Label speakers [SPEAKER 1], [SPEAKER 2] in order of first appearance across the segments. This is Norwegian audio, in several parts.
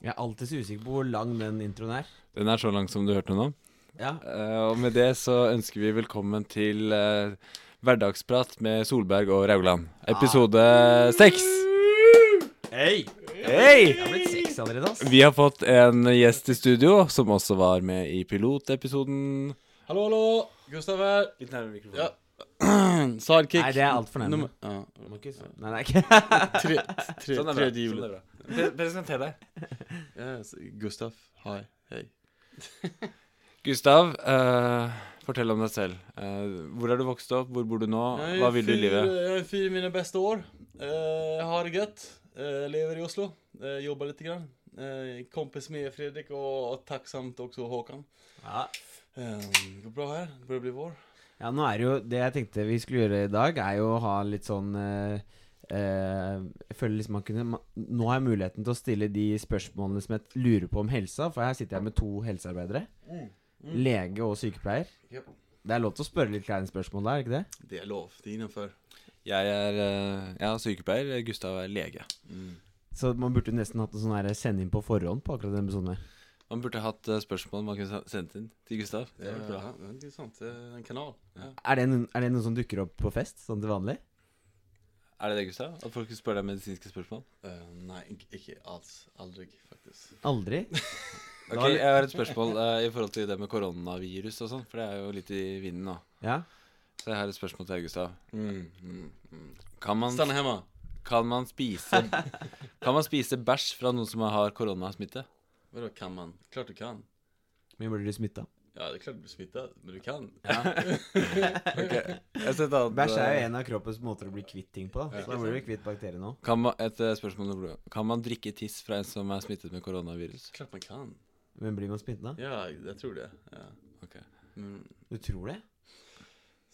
[SPEAKER 1] Jeg er alltid så usikker på hvor lang den introen er.
[SPEAKER 2] Den er så lang som du hørte nå.
[SPEAKER 1] Ja,
[SPEAKER 2] Eh, og med det så ønsker vi velkommen til eh, Hverdagsprat med Solberg og Raugland. Episode seks.
[SPEAKER 1] Hei! Jeg
[SPEAKER 2] Hei!
[SPEAKER 1] har blitt seks allerede, ass.
[SPEAKER 2] Vi har fått en gjest i studio som også var med i pilotepisoden.
[SPEAKER 3] Hallo, hallo. Gustav her.
[SPEAKER 2] Litt nærmere mikrofonen.
[SPEAKER 3] Ja. Sidekick.
[SPEAKER 1] Nei, det er altfor nærme.
[SPEAKER 3] Nummer- Ja.
[SPEAKER 1] Må ikke s- Nei, det er ikke
[SPEAKER 3] Tre, tre,
[SPEAKER 2] Sånn er bra.
[SPEAKER 3] tredje
[SPEAKER 2] Sånn
[SPEAKER 3] hjulet.
[SPEAKER 2] er bra. Pre- Presenter deg.
[SPEAKER 3] Yes. Gustav. Hei. Hei.
[SPEAKER 2] Gustav, eh, fortell om deg selv. Eh, hvor er du vokst opp? Hvor bor du nå? Hva vil du i livet?
[SPEAKER 3] Jeg er fyr i mine beste år. Eh, Jeg har det gøtt. Eh, Jeg lever i Oslo. Eh, Jobber litt. Grann. Eh, Kompis med Fredrik og og takksamt også Håkan.
[SPEAKER 1] ja.
[SPEAKER 3] Eh, Det går bra her. Det börjar bli vår.
[SPEAKER 1] ja, nå er det jo Det jeg tenkte vi skulle gjøre i dag, er jo å ha litt sånn eh, eh, jeg føler liksom man kunne man, Nå har jeg muligheten til å stille de spørsmålene som jeg lurer på om helsa, for her sitter jeg med to helsearbeidere. Mm. Lege og sykepleier.
[SPEAKER 3] Japp.
[SPEAKER 1] Det er lov til å spørre litt kleine spørsmål der, er det ikke det?
[SPEAKER 3] Det er lov. Det er innenfor.
[SPEAKER 2] Jeg er, eh, jeg er sykepleier. Gustav er lege.
[SPEAKER 3] Mm.
[SPEAKER 1] Så man burde nesten hatt en sånn her send inn på forhånd på akkurat den episoden her.
[SPEAKER 2] Man burde hatt eh, spørsmål man kunne sendt inn til Gustav.
[SPEAKER 3] Det er bra. Eh, Ja, det er sant. Det er en kanal. Ja.
[SPEAKER 1] Er det, noen, er det noen som dukker opp på fest, sånn til vanlig?
[SPEAKER 2] Er det det, Gustav? At folk spør deg medisinske spørsmål?
[SPEAKER 3] Eh, Nei, ik- ikke alls. Aldrig, faktisk.
[SPEAKER 1] Aldri?
[SPEAKER 2] Ok,
[SPEAKER 1] Da er det-
[SPEAKER 2] Jeg har et spørsmål eh, i forhold til det med koronavirus og sånn, for det er jo litt i vinden nå.
[SPEAKER 1] Ja.
[SPEAKER 2] Så jeg har et spørsmål til deg, Gustav.
[SPEAKER 3] Mm, mm, mm.
[SPEAKER 2] Kan man,
[SPEAKER 3] Stanna hemma.
[SPEAKER 2] kan man spise Kan man spise bæsj fra noen som har koronasmitte?
[SPEAKER 3] Vadå kan man? Klart du kan.
[SPEAKER 1] Men blir du smitta?
[SPEAKER 3] Ja, det er klart du blir smittet, men du kan.
[SPEAKER 2] Jeg har sett at,
[SPEAKER 1] Bæsj er
[SPEAKER 2] eh,
[SPEAKER 1] jo en av kroppens måter å bli kvitt ting på. Da. Så da blir du kvitt bakteriene òg.
[SPEAKER 2] Kan man, et eh, spørsmål til Olav. Kan man drikke tiss fra en som er smittet med koronavirus?
[SPEAKER 3] Klart man kan.
[SPEAKER 1] Men blir man smitta?
[SPEAKER 3] Ja, jeg tror det. Ja.
[SPEAKER 2] Ok.
[SPEAKER 3] Men
[SPEAKER 1] Du tror det?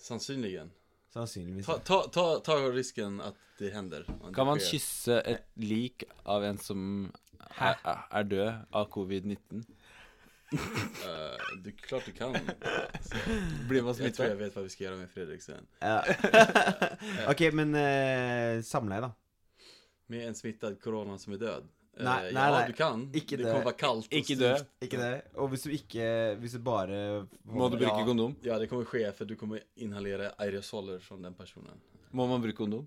[SPEAKER 3] sannsynligen.
[SPEAKER 1] Sannsynligvis.
[SPEAKER 3] Ta, ta, ta, ta risken at det hender. om det
[SPEAKER 2] Kan man
[SPEAKER 3] sker.
[SPEAKER 2] kysse et lik av en som er, er død av covid-19?
[SPEAKER 3] Eh, du, klart du kan.
[SPEAKER 2] Blir man
[SPEAKER 3] Jeg tror
[SPEAKER 2] smittet?
[SPEAKER 3] jeg vet hva vi skal gjøre med Fredrik sen.
[SPEAKER 1] Ja. ok, men eh, samleie, da.
[SPEAKER 3] Med en smittet korona som er død. Eh,
[SPEAKER 1] Nei, nei,
[SPEAKER 3] ja,
[SPEAKER 1] nei.
[SPEAKER 3] du kan.
[SPEAKER 1] Ikke
[SPEAKER 3] det
[SPEAKER 1] dø.
[SPEAKER 3] kommer være kaldt. og
[SPEAKER 2] Ikke dø.
[SPEAKER 3] styrt.
[SPEAKER 1] Ikke det? Og hvis du ikke Hvis du bare
[SPEAKER 2] Må du bruke
[SPEAKER 3] Ja.
[SPEAKER 2] kondom?
[SPEAKER 3] Ja, det kommer ske, for du kommer inhalere aerosoler fra den personen.
[SPEAKER 2] Må man bruke kondom?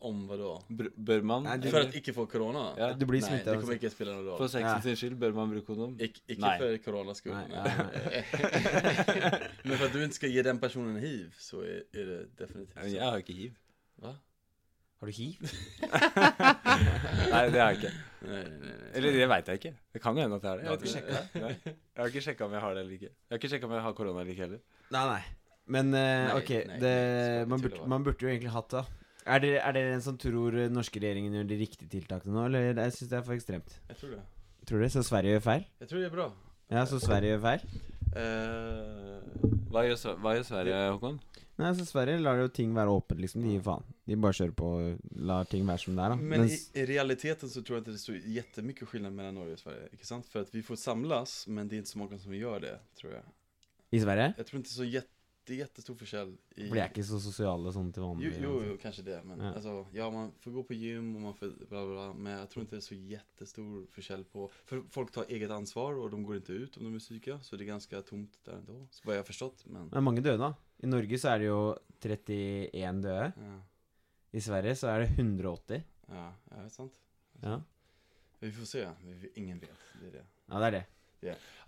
[SPEAKER 3] Om hva da?
[SPEAKER 2] Br bør man?
[SPEAKER 1] Nei, du-
[SPEAKER 3] For at ikke få korona?
[SPEAKER 2] Ja.
[SPEAKER 1] Du blir
[SPEAKER 3] Nei, det
[SPEAKER 1] smitta.
[SPEAKER 3] kommer ikke spille noen rolle.
[SPEAKER 2] For
[SPEAKER 1] Ja.
[SPEAKER 2] sexen sin skyld bør man bruke kondom?
[SPEAKER 3] Ik ikke
[SPEAKER 2] Nei.
[SPEAKER 3] for koronas skull.
[SPEAKER 1] Nei,
[SPEAKER 3] nej.
[SPEAKER 1] nei,
[SPEAKER 3] Men for at du ikke skal gi den personen hiv, så er, er det definitivt
[SPEAKER 2] Men
[SPEAKER 3] så.
[SPEAKER 2] Jeg har ikke hiv.
[SPEAKER 3] Va?
[SPEAKER 1] Har du hiv?
[SPEAKER 2] Nei, det har jeg ikke.
[SPEAKER 3] Nei, nei, nei, nei.
[SPEAKER 2] Eller det veit jeg ikke. Det kan jo hende at jeg har det.
[SPEAKER 3] Ja,
[SPEAKER 2] Jeg har ikke sjekket. Nei. Jeg har ikke sjekka om jeg har det eller ikke. Jeg har ikke sjekka om jeg har korona eller ikke heller.
[SPEAKER 1] Nei, nei. Men eh,
[SPEAKER 3] Nei,
[SPEAKER 1] ok,
[SPEAKER 3] nei,
[SPEAKER 1] det,
[SPEAKER 3] nei, skal ikke
[SPEAKER 1] man,
[SPEAKER 3] tulle,
[SPEAKER 1] burde,
[SPEAKER 3] hva?
[SPEAKER 1] man burde jo egentlig hatt det. da. Er dere, er dere en som tror eh, norske regjeringen gjør de riktige tiltakene nå, eller jeg syns det er for ekstremt?
[SPEAKER 3] Jeg tror det.
[SPEAKER 1] Tror dere? Så Sverige gjør feil?
[SPEAKER 3] Jeg tror det er bra.
[SPEAKER 1] Ja, så Sverige gjør feil?
[SPEAKER 3] Eh,
[SPEAKER 2] Hva gjør, Sve- hva gjør Sverige, Håkon?
[SPEAKER 1] Nei, så Sverige lar jo ting være åpent, liksom. De gir faen. De bare kjører på og lar ting være som det er, da.
[SPEAKER 3] men i,
[SPEAKER 1] Mens,
[SPEAKER 3] i realiteten så tror jeg ikke det står jättemycket skillnad mellan Norge og Sverige. Ikke sant? For at vi får samlas, men det er ikke så mange som gjør det, tror jeg.
[SPEAKER 1] i Sverige
[SPEAKER 3] Jeg tror ikke så jätte, det er jättestor forskjell. I,
[SPEAKER 1] blir jeg ikke så sosiale sånn til vanlig.
[SPEAKER 3] Jo, jo,
[SPEAKER 1] altså.
[SPEAKER 3] jo, kanskje det. Men
[SPEAKER 1] Ja.
[SPEAKER 3] altså, ja, man får gå på gym og man får bla, bla, bla. Men jeg tror ikke det er så jättestor forskjell på For folk tar eget ansvar, og de går ikke ut om de er syke, så det er ganske tomt der ennå. Så hva jeg har forstått, men
[SPEAKER 1] Det er mange døde, da. I Norge så er det jo 31 døde.
[SPEAKER 3] Ja,
[SPEAKER 1] I Sverige så er det 180.
[SPEAKER 3] ja, ja det er sant.
[SPEAKER 1] Ja,
[SPEAKER 3] Vi får se. Vi, ingen vet. Det er det.
[SPEAKER 1] ja det er det.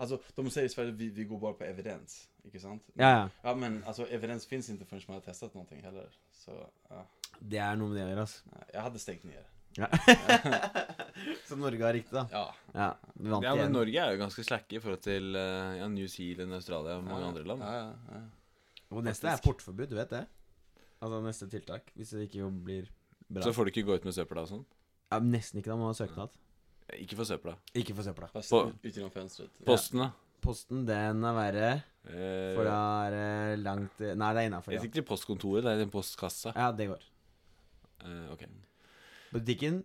[SPEAKER 3] Altså, de sier i Sverige vi, vi går bare på evidens, ikke sant?
[SPEAKER 1] Ja, ja.
[SPEAKER 3] Ja, men alltså, evidens finns inte förrän man har testat någonting heller. Så ja,
[SPEAKER 1] Det er noe med det å gjøre, altså.
[SPEAKER 3] nej, jag hade stängt ner.
[SPEAKER 1] Så Norge har riktig, da.
[SPEAKER 3] Ja,
[SPEAKER 1] Ja, vi vant
[SPEAKER 2] Ja, men
[SPEAKER 1] igjen.
[SPEAKER 2] Norge er jo ganske slakke i forhold til eh, ja, New Zealand, Australia og mange andre land.
[SPEAKER 3] Ja, ja, ja.
[SPEAKER 1] Og neste er portforbud, du vet det? Altså neste tiltak. Hvis det ikke jo blir bra.
[SPEAKER 2] Så får du ikke gå ut med søpla og sånn?
[SPEAKER 1] Ja, men nesten ikke, da må du ha søknad.
[SPEAKER 2] Ikke for søpla.
[SPEAKER 1] Ikke for søpla.
[SPEAKER 3] Fast
[SPEAKER 2] På-
[SPEAKER 3] ut genom fönstret.
[SPEAKER 2] Posten, da?
[SPEAKER 1] Posten, den er verre.
[SPEAKER 2] Eh,
[SPEAKER 1] For det er eh, langt Nei, det er innafor.
[SPEAKER 2] jeg
[SPEAKER 1] Ja.
[SPEAKER 2] sitter i postkontoret, det er en postkassa.
[SPEAKER 1] ja, det går.
[SPEAKER 2] Eh, ok.
[SPEAKER 1] Butikken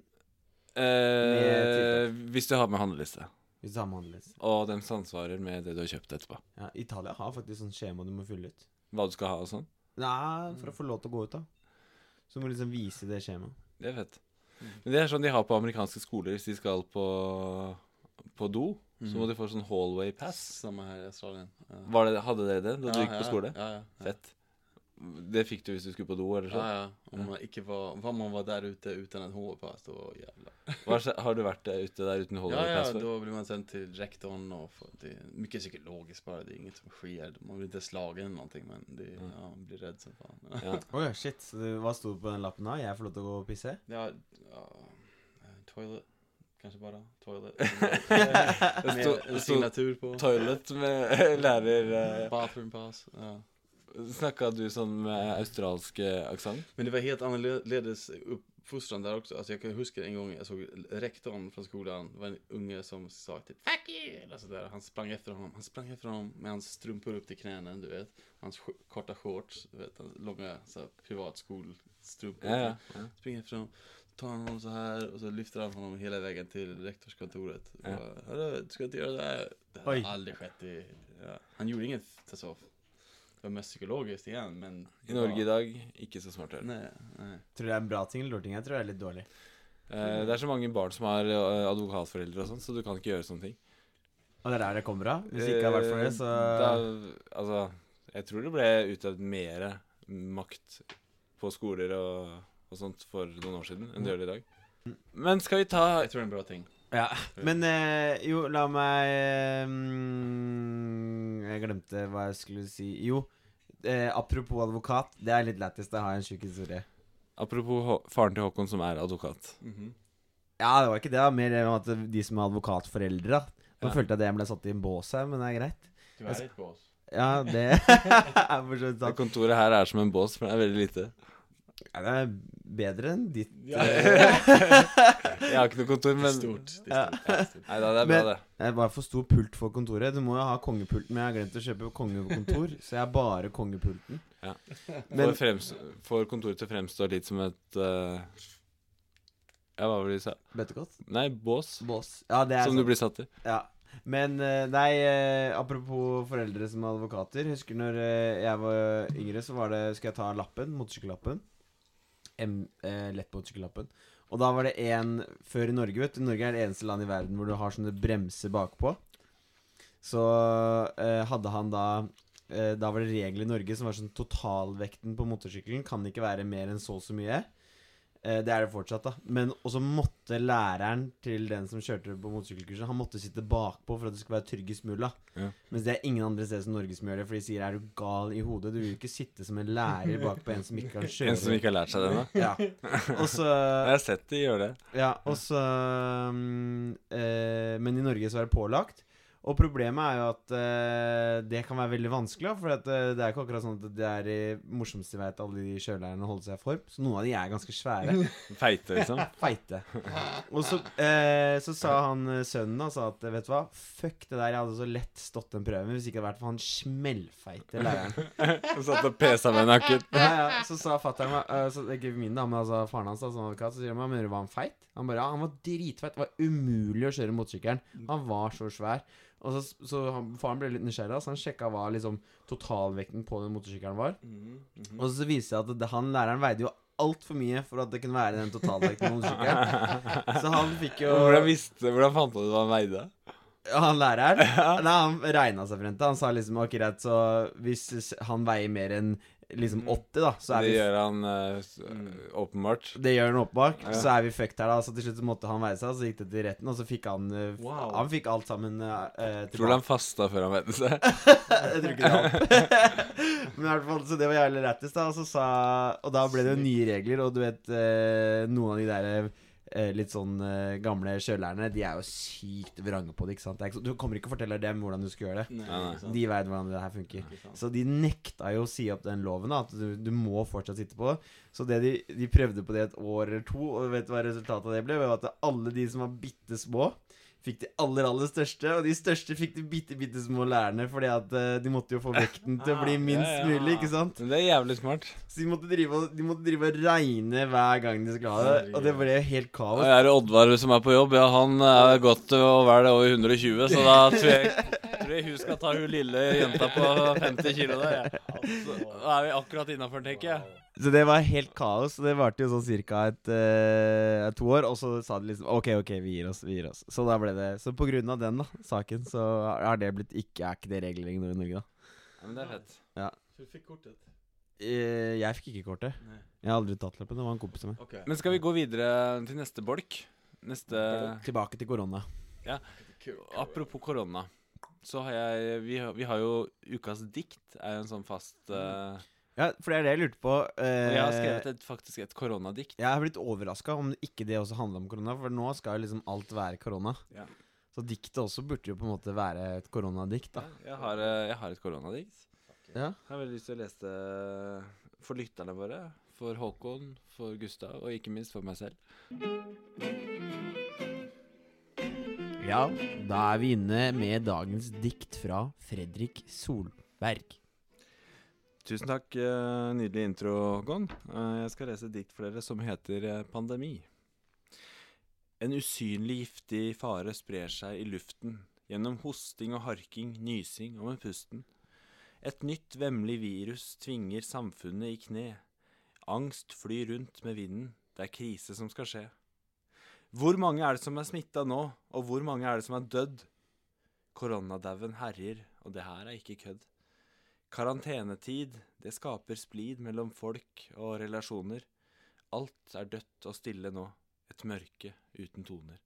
[SPEAKER 2] Eh, hvis du har med handleliste,
[SPEAKER 1] Hvis du har med handleliste.
[SPEAKER 2] og den samsvarer med det du har kjøpt etterpå.
[SPEAKER 1] Ja, Italia har faktisk sånn skjema du må fylle ut.
[SPEAKER 2] Hva du skal ha og sånn.
[SPEAKER 1] Nei, for å få lov til å gå ut, da. Så må du liksom vise det skjemaet.
[SPEAKER 2] Det er fett.
[SPEAKER 3] Mm.
[SPEAKER 2] Men det er sånn de har på amerikanske skoler hvis de skal på, på do.
[SPEAKER 3] Mm.
[SPEAKER 2] Så må de få sånn hallway pass.
[SPEAKER 3] Samme her i Australien. Ja.
[SPEAKER 2] Var det, hadde dere det da du
[SPEAKER 3] Ja,
[SPEAKER 2] gikk på
[SPEAKER 3] ja,
[SPEAKER 2] skole?
[SPEAKER 3] Ja, ja. ja.
[SPEAKER 2] Fett. Det fikk du hvis du skulle på do? eller
[SPEAKER 3] Ja,
[SPEAKER 2] sånn.
[SPEAKER 3] ja. Om man ikke var, var man var der ute uten en hårpass, da jävlar.
[SPEAKER 2] Hva skje- Har du vært eh, ute der uten hallway
[SPEAKER 3] Ja, ja,
[SPEAKER 2] pass før?
[SPEAKER 3] då blir man sänd till rektorn och får, det är mycket psykologiskt bara, det är inget som sker. Man blir inte slagen eller någonting men det,
[SPEAKER 2] Mm.
[SPEAKER 3] ja, man blir rädd som fan.
[SPEAKER 2] Ja.
[SPEAKER 1] Oi, shit. Så det, hva sto det på den lappen da? Jeg får lov til å gå og pisse?
[SPEAKER 3] Ja, ja eh, toilet, kanskje bare toilet.
[SPEAKER 2] Det
[SPEAKER 3] Med
[SPEAKER 2] sto-
[SPEAKER 3] en
[SPEAKER 2] det sto
[SPEAKER 3] signatur på.
[SPEAKER 2] Toilet med lærer eh,
[SPEAKER 3] Bathroom pass. Ja.
[SPEAKER 2] Snakka du sånn med australsk eh, aksent?
[SPEAKER 3] Men det var helt annerledes uppfostran där också. Alltså jag kan huska en gång jag såg rektorn från skolan. Det var en unge som sa typ Fuck you! Eller sådär. Han sprang efter honom. Han sprang efter honom med hans strumpor upp till knäna, du vet. Hans sk- korta shorts, du vet. Hans långa så här, privatskolstrumpor.
[SPEAKER 2] Ja, ja.
[SPEAKER 3] Springer efter honom, tar honom så här och så lyfter han honom hela vägen till rektorskontoret. Och
[SPEAKER 2] Ja.
[SPEAKER 3] bara, Hörru, du ska inte göra det här. Det
[SPEAKER 1] Oj.
[SPEAKER 3] hade aldrig skett i... Ja. Han gjorde inget, alltså. Det var mest psykologiskt igen, men...
[SPEAKER 2] I Norge i dag, ikke så smart. heller.
[SPEAKER 3] Nej, nej.
[SPEAKER 1] Tror du det er en bra ting eller dårlig ting? Jeg tror det er litt dårlig.
[SPEAKER 2] Eh, det er så mange barn som har eh, advokatforeldre og sånn, så du kan ikke gjøre sånne ting.
[SPEAKER 1] Og det er der det kommer av? Hvis det ikke har vært for det, så
[SPEAKER 2] Eh, da, Altså, jeg tror det ble utøvd mer makt på skoler og, og sånt for noen år siden enn
[SPEAKER 1] Mm.
[SPEAKER 2] det gjør det i dag. Men skal vi ta
[SPEAKER 3] Jag tror det är en bra ting.
[SPEAKER 1] Ja. Men eh, jo, la meg eh, mm, Jeg glemte hva jeg skulle si. Jo, eh, apropos advokat. Det er litt lættis. Det har jeg en sjuk historie.
[SPEAKER 2] Apropos Hå- faren til Håkon som er advokat.
[SPEAKER 3] Mhm.
[SPEAKER 1] Ja, det var ikke det. da, Mer om at de som er advokatforeldre. da. Nå
[SPEAKER 2] Ja.
[SPEAKER 1] følte jeg at jeg ble satt i en bås her, men det er greit.
[SPEAKER 3] Du
[SPEAKER 1] er
[SPEAKER 3] litt på oss.
[SPEAKER 1] Ja, det er for så vidt
[SPEAKER 2] Det
[SPEAKER 1] sant.
[SPEAKER 2] kontoret her er som en bås, for det er veldig lite.
[SPEAKER 1] Ja, det er bedre enn ditt.
[SPEAKER 3] Ja,
[SPEAKER 2] Jeg har ikke noe kontor,
[SPEAKER 3] det er
[SPEAKER 2] men
[SPEAKER 3] stort. Det
[SPEAKER 1] Ja.
[SPEAKER 3] er stort. Det er stort.
[SPEAKER 2] Nei da, det er
[SPEAKER 1] Men-
[SPEAKER 2] bra, det.
[SPEAKER 1] Det er bare for stor pult for kontoret. Du må jo ha kongepulten, men jeg har glemt å kjøpe kongekontor, så jeg har bare kongepulten.
[SPEAKER 2] Ja.
[SPEAKER 1] Men
[SPEAKER 2] Får, frems, får kontoret til å fremstå litt som et eh, Ja, hva var det de sa?
[SPEAKER 1] bøttekott?
[SPEAKER 2] Nei, bås.
[SPEAKER 1] Bås. Ja, det er
[SPEAKER 2] Som
[SPEAKER 1] sant.
[SPEAKER 2] du blir satt i.
[SPEAKER 1] Ja. Men eh, nei, eh, apropos foreldre som er advokater. Husker når eh, jeg var yngre, så var det Skal jeg ta lappen? Motorsykkellappen. M- eh, Lettmotorsykkellappen. Og da var det en før i Norge, vet du. Norge er det eneste land i verden hvor du har sånne bremser bakpå. Så eh, hadde han da eh, Da var det regler i Norge som var sånn totalvekten på motorsykkelen kan ikke være mer enn så og så mye. Eh, Det er det fortsatt, da. Men også måtte læreren til den som kjørte på motorsykkelkurset, han måtte sitte bakpå for at det skulle være tryggest mulig. da.
[SPEAKER 2] Ja.
[SPEAKER 1] Mens det er ingen andre steder som Norge som gjør det, for de sier 'er du gal i hodet'? Du vil jo ikke sitte som en lærer bakpå en som ikke kan kjøre.
[SPEAKER 2] En som ikke har lært seg det ennå.
[SPEAKER 1] ja. Og så
[SPEAKER 2] Jeg har sett de gjøre det.
[SPEAKER 1] ja, og så mm, eh, Men i Norge så er det pålagt. Og problemet er jo at eh, det kan være veldig vanskelig, da, for at, eh, det er ikke akkurat sånn at det er det morsomste de vet, alle de kjølelærerne holder seg i form. Så noen av de er ganske svære.
[SPEAKER 2] Feite, liksom.
[SPEAKER 1] Feite. Og så, eh, så sa han eh, sønnen da, sa at vet du hva, fuck det der, jeg hadde så lett stått den prøven hvis ikke det hadde vært for han smellfeite læreren.
[SPEAKER 2] Og satt og pesa med nakken.
[SPEAKER 1] Ja, ja, så sa fatter'n uh, Ikke min, da, men altså faren hans, da, som advokat, så sier han mener du var han feit? Han bare ja, han var dritfeit. Det var umulig å kjøre motorsykkelen. Han var så svær. Og så, så han, faren ble litt nysgjerrig, da, så han sjekka hva liksom totalvekten på den motorsykkelen var.
[SPEAKER 2] Mm,
[SPEAKER 3] Mhm, mhm.
[SPEAKER 1] Og så viste det seg at det, han læreren veide jo altfor mye for at det kunne være den totalvekten på motorsykkelen. Så han fikk jo
[SPEAKER 2] Hvordan, visste, hvordan fant han ut hva han veide?
[SPEAKER 1] Ja, Han læreren? Nei, han regna seg frem til Han sa liksom ok, greit, så hvis s- han veier mer enn liksom 80, da, så er
[SPEAKER 2] Mm. Det
[SPEAKER 1] vi
[SPEAKER 2] gjør han eh, s- åpenbart.
[SPEAKER 1] det gjør han åpenbart.
[SPEAKER 2] Ja.
[SPEAKER 1] Så er vi fucked her, da. Så til slutt så måtte han veie seg, så gikk det til retten, og så fikk han eh, f-
[SPEAKER 3] Wow.
[SPEAKER 1] Han fikk alt sammen eh, eh,
[SPEAKER 2] Tror du han
[SPEAKER 1] tilbake.
[SPEAKER 2] fasta før han vedde seg?
[SPEAKER 1] Jeg tror ikke det hjalp. Men i hvert fall, så det var jævlig lættis, da. Og så sa Og da ble det jo nye regler, og du vet eh, Noen av de der eh, litt sånn eh, gamle kjølerne, de er jo sykt vrange på det, ikke sant. Det er ikke, så- du kommer ikke og forteller dem hvordan du skal gjøre det.
[SPEAKER 3] Nej,
[SPEAKER 2] Ja, nej.
[SPEAKER 3] inte sant.
[SPEAKER 1] De veit hvordan det her funker.
[SPEAKER 3] Inte sant.
[SPEAKER 1] Så de nekta jo å si opp den loven, da, at du, du må fortsatt sitte på. Så det de, de prøvde på det et år eller to, og vet du hva resultatet av det ble? Det var at alle de som var bitte små, fikk de aller, aller største, og de største fikk de bitte, bitte små lærerne, fordi at eh, de måtte jo få vekten til å bli
[SPEAKER 2] Ah,
[SPEAKER 1] minst
[SPEAKER 2] ja, ja.
[SPEAKER 1] mulig, ikke sant?
[SPEAKER 2] Men det er jævlig smart.
[SPEAKER 1] Så de måtte drive og, de måtte drive og regne hver gang de skulle ha det, og det ble jo helt
[SPEAKER 2] Og
[SPEAKER 1] kaos.
[SPEAKER 2] jeg er Oddvar som er på jobb. Ja, han er godt og vel over 120, så da tror jeg, tror jeg hun skal ta hun lille jenta på 50 kilo der. jeg. Da er vi akkurat innafor, tenker jeg.
[SPEAKER 1] Så det var helt kaos, og det varte jo sånn cirka et, eh, to år, og så sa de liksom OK, OK, vi gir oss, vi gir oss. Så da ble det Så på grunn av den da, saken, så har det blitt ikke, er ikke det regler lenger i Norge, da.
[SPEAKER 2] Ja, men det er fett.
[SPEAKER 3] Så du fikk kortet?
[SPEAKER 1] Eh, Jeg fikk ikke kortet.
[SPEAKER 3] Nei.
[SPEAKER 1] Jeg har aldri tatt lappen, det var en kompis av meg.
[SPEAKER 3] Ok.
[SPEAKER 2] Men skal vi gå videre til neste bolk? Neste
[SPEAKER 1] Tilbake til korona.
[SPEAKER 3] Kul.
[SPEAKER 2] Apropos korona. Så har jeg Vi, har- vi har jo Ukas dikt er jo en sånn fast eh,
[SPEAKER 1] Ja, for det er det jeg lurte på.
[SPEAKER 2] og
[SPEAKER 1] eh,
[SPEAKER 2] Jeg har skrevet et, faktisk et koronadikt.
[SPEAKER 1] Jeg har blitt overraska om ikke det også handler om korona, for nå skal jo liksom alt være korona.
[SPEAKER 2] Ja.
[SPEAKER 1] Så diktet også burde jo på en måte være et koronadikt, da.
[SPEAKER 2] Jeg har, eh, jeg har et koronadikt.
[SPEAKER 1] Ja.
[SPEAKER 2] Jeg har veldig lyst til å lese det for lytterne våre. For Håkon, for Gustav og ikke minst for meg selv.
[SPEAKER 1] ja. Da er vi inne med dagens dikt fra Fredrik Solberg.
[SPEAKER 2] Tusen takk. eh, Nydelig intro, Håkon. Eh, Jeg skal lese et dikt for dere som heter eh, 'Pandemi'. En usynlig giftig fare sprer seg i luften gjennom hosting og harking, nysing og med pusten. Et nytt vemmelig virus tvinger samfunnet i kne. Angst flyr rundt med vinden. Det er krise som skal skje. Hvor mange er det som er smitta nå, og hvor mange er det som er dødd? Koronadauden herjer, og det her er ikke kødd. Karantenetid, det skaper splid mellom folk og relasjoner. Alt er dødt og stille nå, et mørke uten toner.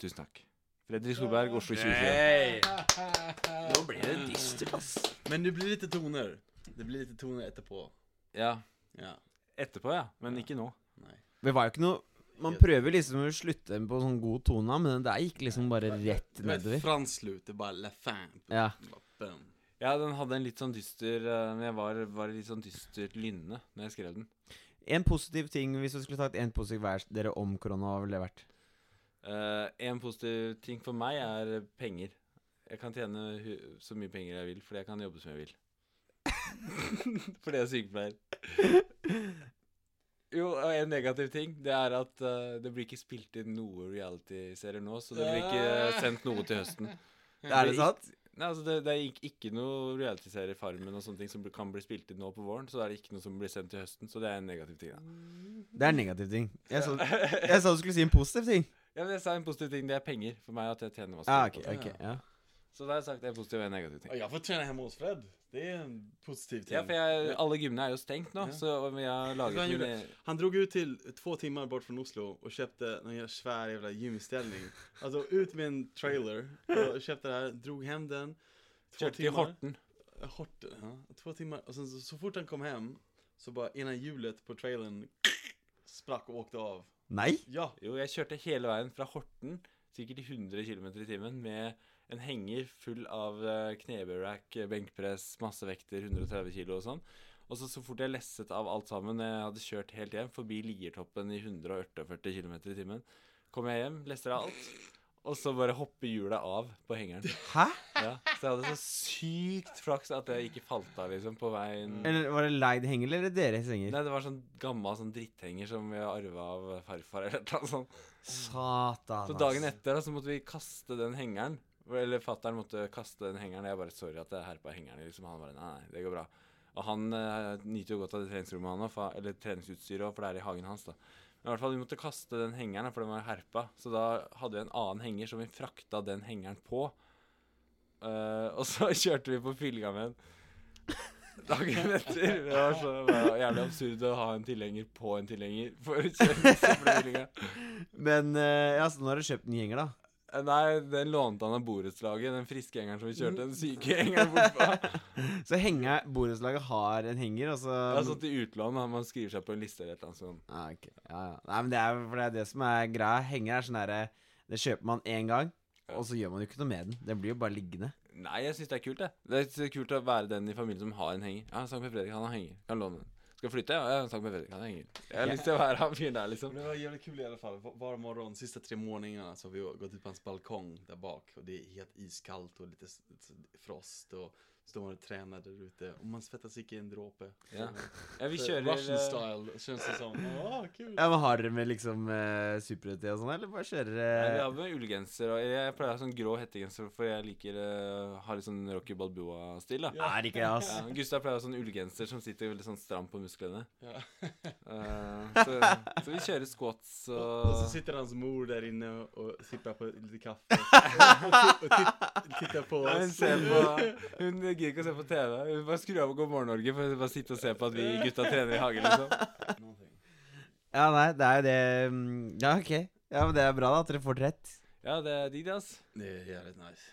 [SPEAKER 2] Tusen takk. Fredrik Solberg, Oslo 2021.
[SPEAKER 3] Hey!
[SPEAKER 1] Nå ble det dystert, ass.
[SPEAKER 3] Men det blir litt toner. Det blir litt toner etterpå.
[SPEAKER 2] Ja.
[SPEAKER 3] Ja.
[SPEAKER 2] Etterpå, ja. Men ikke nå.
[SPEAKER 3] Nei.
[SPEAKER 1] Det var jo ikke noe Man prøver liksom å slutte på sånn god tone, men det der gikk liksom bare rett
[SPEAKER 3] Det var et
[SPEAKER 1] nedover.
[SPEAKER 3] fransk slut. Det er bare la fan.
[SPEAKER 1] Ja.
[SPEAKER 3] Bam.
[SPEAKER 2] Ja, den hadde en litt sånn dyster eh, men Jeg var, var i litt sånn dystert lynne når jeg skrev den.
[SPEAKER 1] En positiv ting, hvis du skulle tatt en positiv hver dere om korona, hva ville det vært?
[SPEAKER 2] Eh, en positiv ting for meg er penger. Jeg kan tjene hu- så mye penger jeg vil, fordi jeg kan jobbe som jeg vil. fordi jeg er sykepleier. Jo, og en negativ ting, det er at eh, det blir ikke spilt inn noe reality-serier nå, så det blir ikke sendt noe til høsten.
[SPEAKER 1] Er det sant?
[SPEAKER 2] Nei, altså Det, det er ikke, ikke noe reality-serie Farmen og sånne ting som bl- kan bli spilt inn nå på våren, så det er ikke noe som blir sendt til høsten, så det er en negativ ting. da.
[SPEAKER 1] Det er en negativ ting. Jeg sa, jeg sa du skulle si en positiv ting.
[SPEAKER 2] Ja, men Jeg sa en positiv ting, det er penger for meg, at jeg tjener masse
[SPEAKER 1] Ja,
[SPEAKER 2] penger
[SPEAKER 1] Ah, ok,
[SPEAKER 2] på det.
[SPEAKER 1] ok, ja
[SPEAKER 2] Så da har jeg sagt en positiv og en negativ ting.
[SPEAKER 3] Ja, Jeg får trene hjemme hos Fred. Det er en positiv ting.
[SPEAKER 2] Ja, for jeg, alle gymmene er jo stengt nå,
[SPEAKER 3] Ja.
[SPEAKER 2] så vi har
[SPEAKER 3] Vet du hva
[SPEAKER 2] laget eh,
[SPEAKER 3] han
[SPEAKER 2] mine
[SPEAKER 3] gjorde? Han drog ut till två timmar bort från Oslo och köpte någon jävla svär jävla gymställning. Alltså ut med en trailer och köpte det här, drog hem den. Två
[SPEAKER 2] Kjørte til Horten.
[SPEAKER 3] Horten, ja. Två timmar. Och sen så, så fort han kom hem så bara ena hjulet på trailern sprack och åkte av.
[SPEAKER 1] Nei?
[SPEAKER 3] Ja!
[SPEAKER 2] Jo, jeg kjørte hele veien fra Horten, sikkert i 100 km i timen, med en henger full av eh, knebøyrack, eh, benkpress, massevekter, 130 kilo og sånn. Og så, så fort jeg lesset av alt sammen, jeg hadde kjørt helt hjem, forbi Liertoppen i 148 km i timen, kom jeg hjem, lesser av alt, og så bare hopper hjulet av på hengeren.
[SPEAKER 1] Hæ?
[SPEAKER 2] Ja, så jeg hadde så sykt flaks at jeg ikke falt av, liksom, på veien.
[SPEAKER 1] Eller var det leid henger, eller deres henger?
[SPEAKER 2] Nei, det var sånn gammel sånn dritthenger som vi arva av farfar eller noe sånt.
[SPEAKER 1] Satan,
[SPEAKER 2] Så dagen etter da, så måtte vi kaste den hengeren. Eller fattern måtte kaste den hengeren. Jeg bare sorry at jeg herpa hengeren. Liksom. Han bare nei, nei, det går bra. Og han eh, nyter jo godt av det treningsrommet han også, fa- eller treningsutstyret òg, for det er i hagen hans, da. Men i hvert fall, vi måtte kaste den hengeren, da, for den var herpa. Så da hadde vi en annen henger som vi frakta den hengeren på. Eh, og så kjørte vi på fylga med den dagen etter. Det var så det var jævlig absurd å ha en tilhenger på en tilhenger for å kjøre på fylga.
[SPEAKER 1] Men eh, ja, så nå har du kjøpt ny henger, da.
[SPEAKER 2] Eh, Nei, den lånte han av borettslaget. Den friske gjengeren som vi kjørte.
[SPEAKER 3] Mm.
[SPEAKER 2] Den syke gjengeren bortpå.
[SPEAKER 1] Så henga, borettslaget har en henger, og så
[SPEAKER 2] Jeg satt i utlån, da. Man skriver seg på en liste eller et eller annet sånt.
[SPEAKER 1] ah, ok. ja, ja. Nei, men det er, for det er det som er greia. Henger er sånn derre Det kjøper man én gang,
[SPEAKER 2] Ja.
[SPEAKER 1] og så gjør man jo ikke noe med den. Den blir jo bare liggende.
[SPEAKER 2] Nei, jeg syns det er kult, det. Det er så kult å være den i familien som har en henger. Ja, Sankt Per Fredrik, han har henger. Kan låne den. Skal flytte? Ja, jeg har en sak med Fredrik. Han er engel. Jeg har lyst til å være han fyren der, liksom.
[SPEAKER 3] Men det var jävligt kul i alla fall. Var- Var morgon, sista tre månaderna så har vi gått ut på hans balkong där bak och det är helt iskallt och lite s- s- frost och står och tränar där ute och man svettas icke en dråpe.
[SPEAKER 2] Ja. Ja, vi
[SPEAKER 3] Så
[SPEAKER 2] kjører
[SPEAKER 3] Russian
[SPEAKER 2] eh,
[SPEAKER 3] style känns det som. Åh, kul!
[SPEAKER 1] Ja, men Har dere med liksom uh, superhøytid og sånn, eller bare kjører
[SPEAKER 2] Nei, vi
[SPEAKER 1] eh,
[SPEAKER 2] har med ullgenser og Jeg pleier å ha sånn grå hettegenser, for jeg liker eh, har litt sånn Rocky Balboa-stil. da
[SPEAKER 1] Er ikke jeg, ass.
[SPEAKER 2] ja, Gustav pleier å ha sånn ullgenser som sitter veldig sånn stram på musklene.
[SPEAKER 3] Ja.
[SPEAKER 2] Eh, så, så vi kjører squats
[SPEAKER 3] Och och så
[SPEAKER 2] og
[SPEAKER 3] sitter hans mor där inne och, och sippar på lite kaffe och, och, titt- tittar på
[SPEAKER 2] Ja, Hun
[SPEAKER 3] oss.
[SPEAKER 2] ser på Hun gidder ikke å se på TV. Hun bare skrur av og God morgen Norge for å bare sitte og se på at vi gutta trener i hagen, liksom.
[SPEAKER 3] Någonting.
[SPEAKER 1] Ja, nei, det er jo det mm, Ja, ok. Ja, men det er bra, da, at dere får det rett.
[SPEAKER 2] Ja, det er digg, det, ass.
[SPEAKER 3] Det är jävligt nice.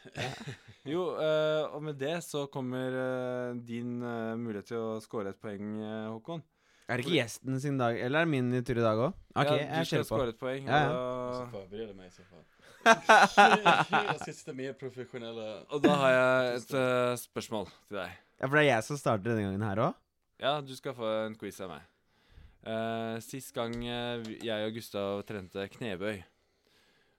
[SPEAKER 2] Jo, eh, og med det så kommer eh, din eh, mulighet til å score et poeng, eh, Håkon.
[SPEAKER 1] Er det ikke gjesten sin dag, eller er det min tur i dag òg? Ok,
[SPEAKER 2] ja,
[SPEAKER 1] jeg
[SPEAKER 2] du skal
[SPEAKER 1] kjører på.
[SPEAKER 2] score et poeng.
[SPEAKER 1] Ja, ja.
[SPEAKER 3] Jag ska
[SPEAKER 2] Og,
[SPEAKER 3] förbereda mig i så fall. Jag ska sitta mer professionella.
[SPEAKER 2] da, og da har jeg et eh, spørsmål til deg.
[SPEAKER 1] Ja, For det er jeg som starter denne gangen her òg?
[SPEAKER 2] Ja, du skal få en quiz av meg. Eh, sist gang eh, vi- jeg og Gustav trente knebøy,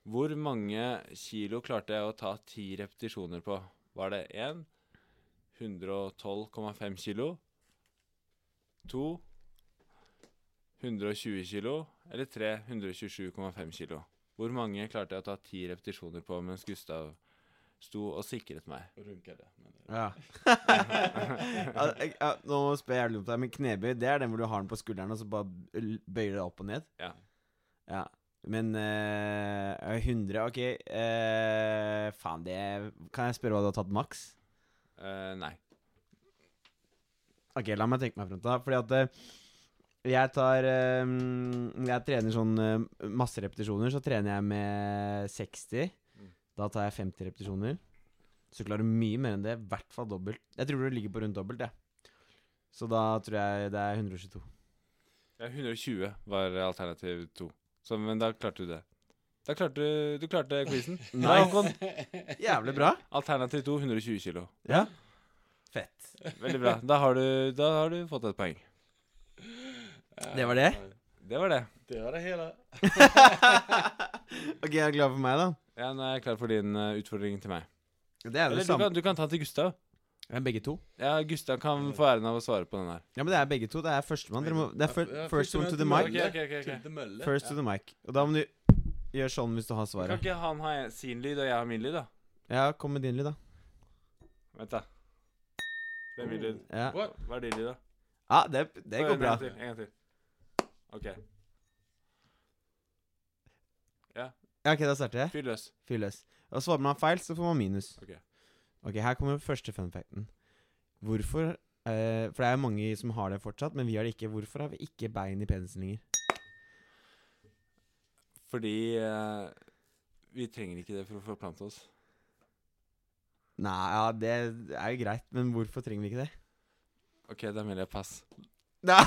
[SPEAKER 2] hvor mange kilo klarte jeg å ta ti repetisjoner på? Var det 1 112,5 kilo? 2 120 kilo? Eller 3 127,5 kilo? Hvor mange klarte jeg å ta ti repetisjoner på mens Gustav sto og sikret meg?
[SPEAKER 3] Och runkade. Men,
[SPEAKER 1] Ja. ja, ja, nå spør jeg jævlig om deg, men knebøy, det er den hvor du har den på skulderen, og så bare l- bøyer du deg opp og ned?
[SPEAKER 2] Ja.
[SPEAKER 1] Ja. Men eh, 100 Ok. eh, faen, det Kan jeg spørre hva du har tatt maks?
[SPEAKER 2] Eh, nei.
[SPEAKER 1] Ok, la meg tenke meg frem til det. Fordi at eh, jeg tar eh, mm, Jeg trener sånn eh, masse repetisjoner. Så trener jeg med 60. Da tar jeg 50 repetisjoner. Så klarer du mye mer enn det. I hvert fall dobbelt. Jeg tror du ligger på rundt dobbelt, jeg. Så da tror jeg det er 122.
[SPEAKER 2] Ja, 120 var alternativ 2. Så, men da klarte du det. Da klarte du, du klarte quizen. Nei, Håkon.
[SPEAKER 1] Jævlig bra.
[SPEAKER 2] Alternativ 2 120 kilo.
[SPEAKER 1] Ja. Fett.
[SPEAKER 2] Veldig bra. Da har du, da har du fått et poeng.
[SPEAKER 1] Det var det?
[SPEAKER 2] Det var det.
[SPEAKER 3] eh, Det var det hela.
[SPEAKER 1] Ok, jeg er glad for meg, da.
[SPEAKER 2] Ja, Nå er jeg klar for din eh, utfordring til meg.
[SPEAKER 1] Det er jo
[SPEAKER 2] Eller
[SPEAKER 1] det
[SPEAKER 2] du
[SPEAKER 1] samme.
[SPEAKER 2] kan, du kan ta den til Gustav.
[SPEAKER 1] Det er begge to.
[SPEAKER 2] Ja, Gustav kan få æren av å svare på den her.
[SPEAKER 1] Ja, men det er begge to. Det er førstemann. Dere må Det er fir-
[SPEAKER 3] Ja,
[SPEAKER 1] first one to the
[SPEAKER 3] førstemann
[SPEAKER 1] mic.
[SPEAKER 3] til mølle.
[SPEAKER 2] Ok, ok, ok, ok.
[SPEAKER 3] To the mølle.
[SPEAKER 1] First to the mic. Og da må du gjøre sånn hvis du har
[SPEAKER 2] Kan
[SPEAKER 1] svaret.
[SPEAKER 2] ikke han ha en- sin lyd, og jeg har min lyd, da?
[SPEAKER 1] Ja, kom med din lyd, da.
[SPEAKER 2] Vent, da. Det er min lyd.
[SPEAKER 1] Ja,
[SPEAKER 3] What?
[SPEAKER 2] Hva er din lyd, da?
[SPEAKER 1] ja det, det
[SPEAKER 2] Få
[SPEAKER 1] går
[SPEAKER 2] en
[SPEAKER 1] bra.
[SPEAKER 2] gang til, En gang til. OK.
[SPEAKER 1] Ja, ok, Da starter jeg.
[SPEAKER 2] Fyr løs.
[SPEAKER 1] Fyr løs. Og svarer man feil, så får man minus.
[SPEAKER 2] Ok.
[SPEAKER 1] Ok, Her kommer første funfacten. Hvorfor eh, For det er jo mange som har det fortsatt, men vi har det ikke. Hvorfor har vi ikke bein i penisen lenger?
[SPEAKER 2] Fordi eh, vi trenger ikke det for å forplante oss.
[SPEAKER 1] Nei, ja, det er jo greit, men hvorfor trenger vi ikke det?
[SPEAKER 2] OK, da melder jeg pass.
[SPEAKER 1] Nei.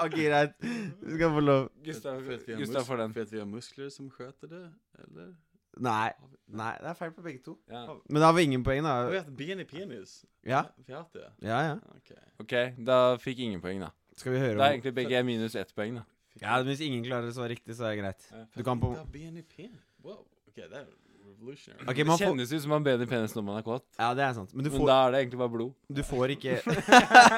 [SPEAKER 1] ok, greit. Du skal få lov.
[SPEAKER 2] Gustav,
[SPEAKER 3] För att vi har
[SPEAKER 2] Gustav
[SPEAKER 3] mus-
[SPEAKER 2] får den.
[SPEAKER 3] För att vi har muskler som sköter det, eller?
[SPEAKER 1] Nei.
[SPEAKER 3] Har vi-
[SPEAKER 1] Nei, det er feil på begge to.
[SPEAKER 2] Ja.
[SPEAKER 1] Men da har vi ingen poeng,
[SPEAKER 3] Har vi
[SPEAKER 1] da.
[SPEAKER 3] haft ben i penis?
[SPEAKER 1] Ja,
[SPEAKER 3] Vi har haft det?
[SPEAKER 1] ja. ja.
[SPEAKER 3] Okej.
[SPEAKER 2] OK, da fikk ingen poeng, da.
[SPEAKER 1] Skal vi høre
[SPEAKER 2] Da er
[SPEAKER 1] om
[SPEAKER 2] egentlig begge minus ett poeng, da.
[SPEAKER 1] Ja, men Hvis ingen klarer å svare riktig, så er det greit.
[SPEAKER 2] Ja.
[SPEAKER 1] Du kan på
[SPEAKER 3] Inte ha ben i penis? Wow. Okej, det här är revolutionary.
[SPEAKER 1] Ok,
[SPEAKER 2] Det
[SPEAKER 1] man får
[SPEAKER 2] kjennes ut som man ber i penisen når man er kåt,
[SPEAKER 1] Ja, det er sant. Men du
[SPEAKER 2] men
[SPEAKER 1] får
[SPEAKER 2] da er det egentlig bare blod.
[SPEAKER 1] Du får ikke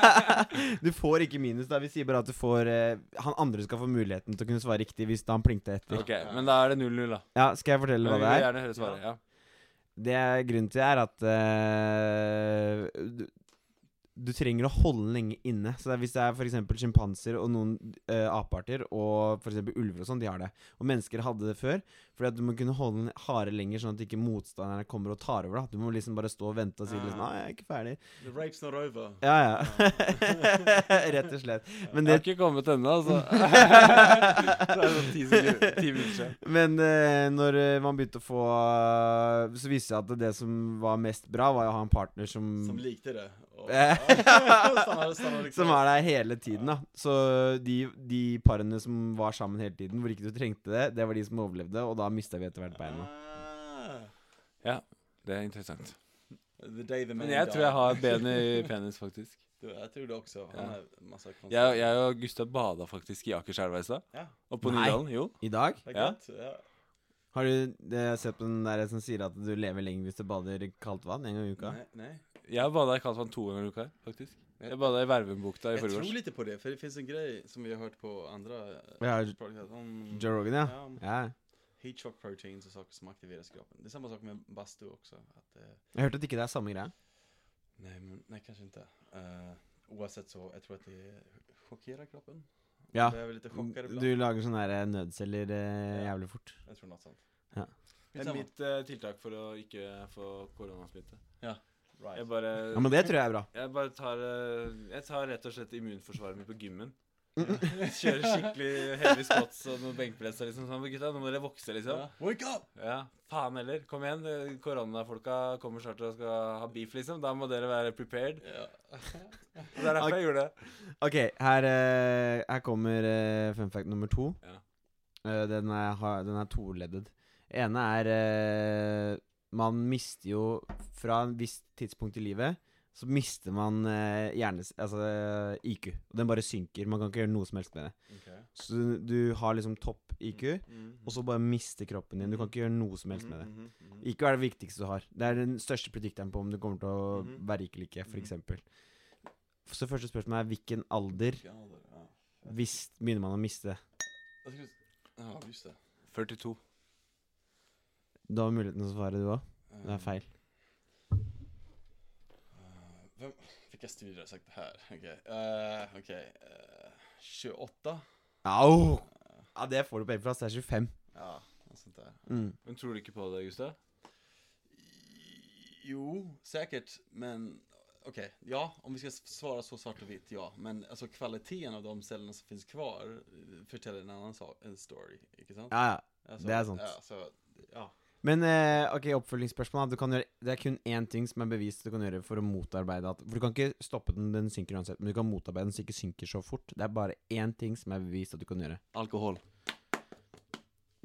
[SPEAKER 1] Du får ikke minus, da. Vi sier bare at du får eh, Han andre skal få muligheten til å kunne svare riktig hvis da han plinkte etter.
[SPEAKER 2] Ok, Men da er det 0-0, da.
[SPEAKER 1] Ja, skal jeg fortelle hva
[SPEAKER 2] Men vi
[SPEAKER 1] det
[SPEAKER 2] vil
[SPEAKER 1] er?
[SPEAKER 2] gjerne høre svaret. Ja.
[SPEAKER 1] Det er Grunnen til er at eh, du, du trenger å holde den lenge inne. Så det er, hvis det er f.eks. sjimpanser og noen uh, apearter og f.eks. ulver og sånn, de har det. Og mennesker hadde det før. Fordi at du må kunne holde den harde lenger, sånn at ikke motstanderne kommer og tar over. Da. Du må liksom bare stå og vente og si liksom
[SPEAKER 3] Ah.
[SPEAKER 1] Nei, jeg er ikke ferdig.
[SPEAKER 3] The rape's not over.
[SPEAKER 1] Ja, ja. Rett og slett. Men
[SPEAKER 2] Jeg
[SPEAKER 1] det
[SPEAKER 2] har ikke kommet ennå, altså. det er sånn ti sekunder- ti minutter siden.
[SPEAKER 1] Men eh, når eh, man begynte å få eh, Så viste det seg at det som var mest bra, var å ha en partner som
[SPEAKER 3] Som likte det. sånn Och,
[SPEAKER 1] Eh.
[SPEAKER 2] Sånn
[SPEAKER 3] stannar,
[SPEAKER 2] liksom.
[SPEAKER 3] stannar
[SPEAKER 1] som er der hele tiden, da. Så de, de parene som var sammen hele tiden, hvor ikke du trengte det, det var de som overlevde, og da mista vi etter hvert beina.
[SPEAKER 3] Ah.
[SPEAKER 2] Ja, det er interessant.
[SPEAKER 3] The day the man
[SPEAKER 2] Men jeg tror jeg har ben i penis, faktisk.
[SPEAKER 3] Det- Jeg tror det også. Han
[SPEAKER 2] Ja.
[SPEAKER 3] har masse konserter.
[SPEAKER 2] Jeg, jeg og Gustav bada faktisk i Akerselva i stad.
[SPEAKER 3] Ja,
[SPEAKER 2] Og på
[SPEAKER 1] Nei.
[SPEAKER 2] Nydalen. Jo.
[SPEAKER 1] I dag?
[SPEAKER 3] det er
[SPEAKER 2] Ja.
[SPEAKER 3] godt. Ja.
[SPEAKER 1] Har du eh, sett på den der som sier at du lever lenger hvis du bader i kaldt vann en gang i uka?
[SPEAKER 3] Nej, nej.
[SPEAKER 2] Jeg bada i Kalsvann to ganger i uka, faktisk. Jeg bada i Værvumbukta i
[SPEAKER 3] Jag tror
[SPEAKER 2] forgårs.
[SPEAKER 3] lite på det, för det finns en grej som vi har hört på andra eh,
[SPEAKER 1] Ja,
[SPEAKER 3] podcast om
[SPEAKER 1] Joe Rogan, ja.
[SPEAKER 3] om
[SPEAKER 1] ja.
[SPEAKER 3] heat shock proteins och saker som aktiverar kroppen. Det är samma sak med bastu också. Att, eh,
[SPEAKER 1] Jeg hørte at ikke det er samme greia.
[SPEAKER 3] nej, men, nej, kanske inte. Eh, oavsett så, jag tror att det chockerar kroppen.
[SPEAKER 1] Ja.
[SPEAKER 3] Jag är väl lite chockad ibland.
[SPEAKER 1] Du lager sånne her, eh, nødceller eh,
[SPEAKER 3] Ja.
[SPEAKER 1] jævlig fort.
[SPEAKER 3] Jag tror något sånt.
[SPEAKER 1] Ja.
[SPEAKER 2] Det er
[SPEAKER 3] Skitsamma.
[SPEAKER 2] mitt eh, tiltak for å ikke få koronasmitte.
[SPEAKER 3] Right.
[SPEAKER 2] Jeg bare
[SPEAKER 1] Ja, Men det tror jeg er bra.
[SPEAKER 2] Jeg bare tar eh, Jeg tar rett og slett immunforsvaret mitt på gymmen. Kjører skikkelig heavy squats og noen benkpress og liksom sånn. Men Gutta, nå må dere vokse, liksom.
[SPEAKER 3] Ja. Wake up!
[SPEAKER 2] Ja, faen heller. Kom igjen. eh, Koronafolka kommer snart og skal ha beef, liksom. Da må dere være prepared.
[SPEAKER 3] Ja.
[SPEAKER 2] Og Det er derfor jeg gjorde det.
[SPEAKER 1] Ok, her, eh, her kommer eh, fun fact nummer to.
[SPEAKER 2] Ja.
[SPEAKER 1] Eh, den, er, ha- den er toleddet. Ene er eh, Man mister jo Fra en visst tidspunkt i livet så mister man eh, hjernes... Altså eh, IQ. Og den bare synker. Man kan ikke gjøre noe som helst med det.
[SPEAKER 3] Okay.
[SPEAKER 1] Så du, du har liksom topp IQ,
[SPEAKER 3] Mm.
[SPEAKER 1] og så bare mister kroppen din. Du kan ikke gjøre noe som helst med det.
[SPEAKER 3] Mm-hmm.
[SPEAKER 1] IQ er det viktigste du har. Det er den største predikteren på om du kommer til å
[SPEAKER 3] Mhm.
[SPEAKER 1] være rik eller ikke,
[SPEAKER 3] Mhm.
[SPEAKER 1] f.eks. Så første spørsmål er hvilken alder
[SPEAKER 3] Ja, det- ja.
[SPEAKER 1] hvis begynner man å miste?
[SPEAKER 3] Jag skulle- Ja, just det.
[SPEAKER 2] 42.
[SPEAKER 1] Du har muligheten til å svare, du òg. Det
[SPEAKER 3] Eh,
[SPEAKER 1] er feil.
[SPEAKER 3] Eh, Vem, vilka studier har sagt det här? Okej, eh, okej, eh, 28?
[SPEAKER 1] Au! Ja, det får du poeng for, ass. Det er 25.
[SPEAKER 3] Ja, något sånt där.
[SPEAKER 1] Mm.
[SPEAKER 2] Men tror du ikke på det, Gustav?
[SPEAKER 3] Jo, säkert, men okej, ja, om vi ska s- svara så svart och vitt, ja. Men alltså kvaliteten av de cellerna som finns kvar eh, förtäljer en annan sak, en story, inte sant?
[SPEAKER 1] Ja, ja.
[SPEAKER 3] Alltså,
[SPEAKER 1] det är sant.
[SPEAKER 3] Ja, så, ja.
[SPEAKER 1] Men eh, ok, oppfølgingsspørsmål. da. Du kan gjøre, det er kun én ting som er bevist du kan gjøre for å motarbeide at For du kan ikke stoppe den, den synker uansett, men du kan motarbeide den så den ikke synker så fort. Det er bare én ting som er bevist at du kan gjøre.
[SPEAKER 3] Alkohol.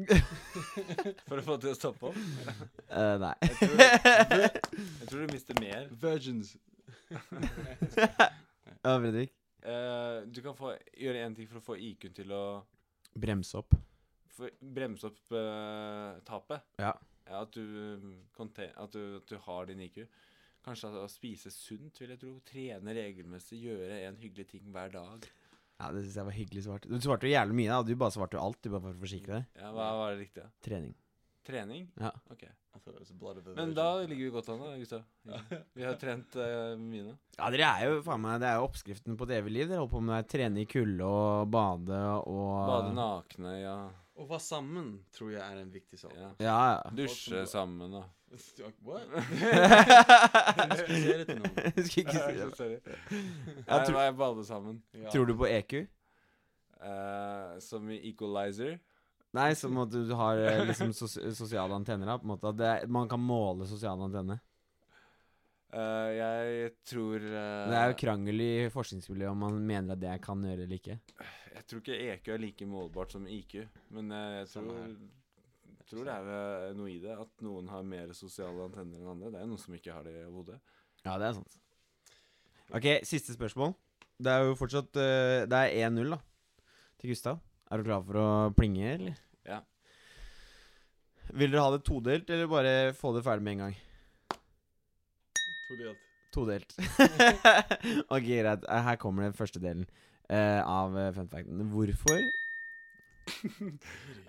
[SPEAKER 2] For å få det til å stoppe opp?
[SPEAKER 1] Eh, nei.
[SPEAKER 2] Jeg tror, jeg tror du mister mer.
[SPEAKER 3] Virgins.
[SPEAKER 1] Ja, Fredrik?
[SPEAKER 2] Eh, du kan få, gjøre én ting for å få IQ-en til å
[SPEAKER 1] Bremse opp.
[SPEAKER 2] for, bremse opp eh, tapet.
[SPEAKER 1] Ja.
[SPEAKER 2] at, du, mm, contain- at, du, at du har din IQ. Kanskje at, å spise sunt, vil jeg tro. Trene regelmessig, gjøre en hyggelig ting hver dag.
[SPEAKER 1] Ja, Det syns jeg var hyggelig svart. Du svarte jo jævlig mye, da. Du bare svarte jo alt. Du bare for å forsikre deg.
[SPEAKER 2] Ja, Hva var det riktige?
[SPEAKER 1] Trening.
[SPEAKER 2] Trening?
[SPEAKER 1] Ja.
[SPEAKER 2] Ok.
[SPEAKER 3] Alltså, it's blood of a
[SPEAKER 2] Men
[SPEAKER 3] virgin.
[SPEAKER 2] da ligger vi godt an, da, Gustav. Vi har trent eh, mye nå.
[SPEAKER 1] Ja, dere er jo faen meg Det er jo oppskriften på et evig liv. Dere holder på med å trene i kulde og bade og
[SPEAKER 2] Bade nakne, ja.
[SPEAKER 3] Och vara sammen tror jag är en viktig sak.
[SPEAKER 2] ja.
[SPEAKER 1] Ja, ja.
[SPEAKER 2] Dusje sammen og
[SPEAKER 3] What?
[SPEAKER 1] Du
[SPEAKER 3] Ska jag säga det till någon?
[SPEAKER 1] skulle ikke si det.
[SPEAKER 2] Sorry. Nei,
[SPEAKER 1] Jeg tror,
[SPEAKER 2] nei, bade sammen.
[SPEAKER 3] Ja.
[SPEAKER 1] tror du på E EQ?
[SPEAKER 2] Eh, som i Equalizer.
[SPEAKER 1] Nei, som at du har eh, liksom sos sosiale antenner, da. På en måte at det er, man kan måle sosiale antenner.
[SPEAKER 2] Eh, jeg tror eh,
[SPEAKER 1] Det er jo krangel i forskningsmiljøet om man mener at det kan gjøre eller ikke.
[SPEAKER 2] Jeg tror ikke EQ er like målbart som IQ, men eh, jeg tror,
[SPEAKER 3] Samme her.
[SPEAKER 2] jeg tror det er eh, noe i det. At noen har mer sosiale antenner enn andre. Det er noen som ikke har det i hodet.
[SPEAKER 1] Ja, det er sant. Ok, siste spørsmål. Det er jo fortsatt eh, Det er 1-0, da, til Gustav. Er du klar for å plinge, eller?
[SPEAKER 2] Ja.
[SPEAKER 1] Vil dere ha det todelt, eller bare få det ferdig med en gang?
[SPEAKER 3] Tror du att-
[SPEAKER 1] Todelt. ok, greit. Eh, Her kommer den første delen eh, av eh, fun facten. Hvorfor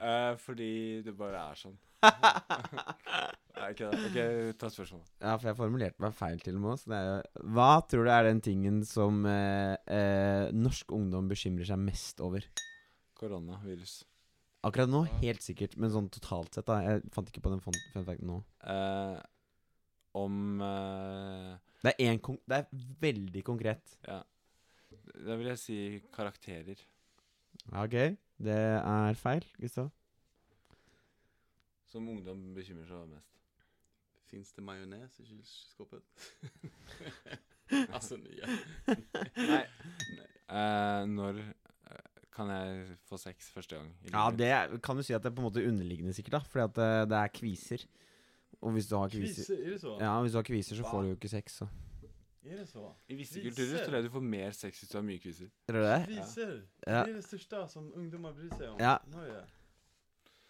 [SPEAKER 2] Eh, fordi det bare er sånn. Nei, ikke det. Ok, ta spørsmålet.
[SPEAKER 1] Ja, for jeg formulerte meg feil til og med. Så det er jo Hva tror du er den tingen som eh, eh, norsk ungdom bekymrer seg mest over?
[SPEAKER 2] Koronavirus.
[SPEAKER 1] Akkurat nå, helt sikkert, men sånn totalt sett, da. Jeg fant ikke på den fun fun facten nå.
[SPEAKER 2] Eh, om eh,
[SPEAKER 1] Det er, en kon det er veldig konkret.
[SPEAKER 2] Da vil jeg si karakterer.
[SPEAKER 1] Ja, Ok, det er feil, Gustav.
[SPEAKER 2] Som ungdom bekymrer seg mest.
[SPEAKER 3] Finns det majonnäs i Altså, kylskåpet? alltså nya.
[SPEAKER 2] Nei. Eh, når eh, kan jeg få sex første gang? i
[SPEAKER 1] Ja,
[SPEAKER 2] livet?
[SPEAKER 1] det er, kan du si at det er på en måte underliggende, sikkert, da. Fordi at det, det er kviser. Og hvis du har kviser
[SPEAKER 3] Kviser, är det så?
[SPEAKER 1] Ja, hvis du har kviser, så får
[SPEAKER 3] Hva?
[SPEAKER 1] du jo ikke sex, så.
[SPEAKER 3] Är det så?
[SPEAKER 2] I visse
[SPEAKER 3] Viser.
[SPEAKER 2] kulturer tror jeg du får mer sex hvis du har mye kviser.
[SPEAKER 1] Tror du det?
[SPEAKER 3] Visor!
[SPEAKER 1] Ja.
[SPEAKER 3] Det är det största som ungdomar bryr sig om.
[SPEAKER 1] Ja.
[SPEAKER 3] Norge.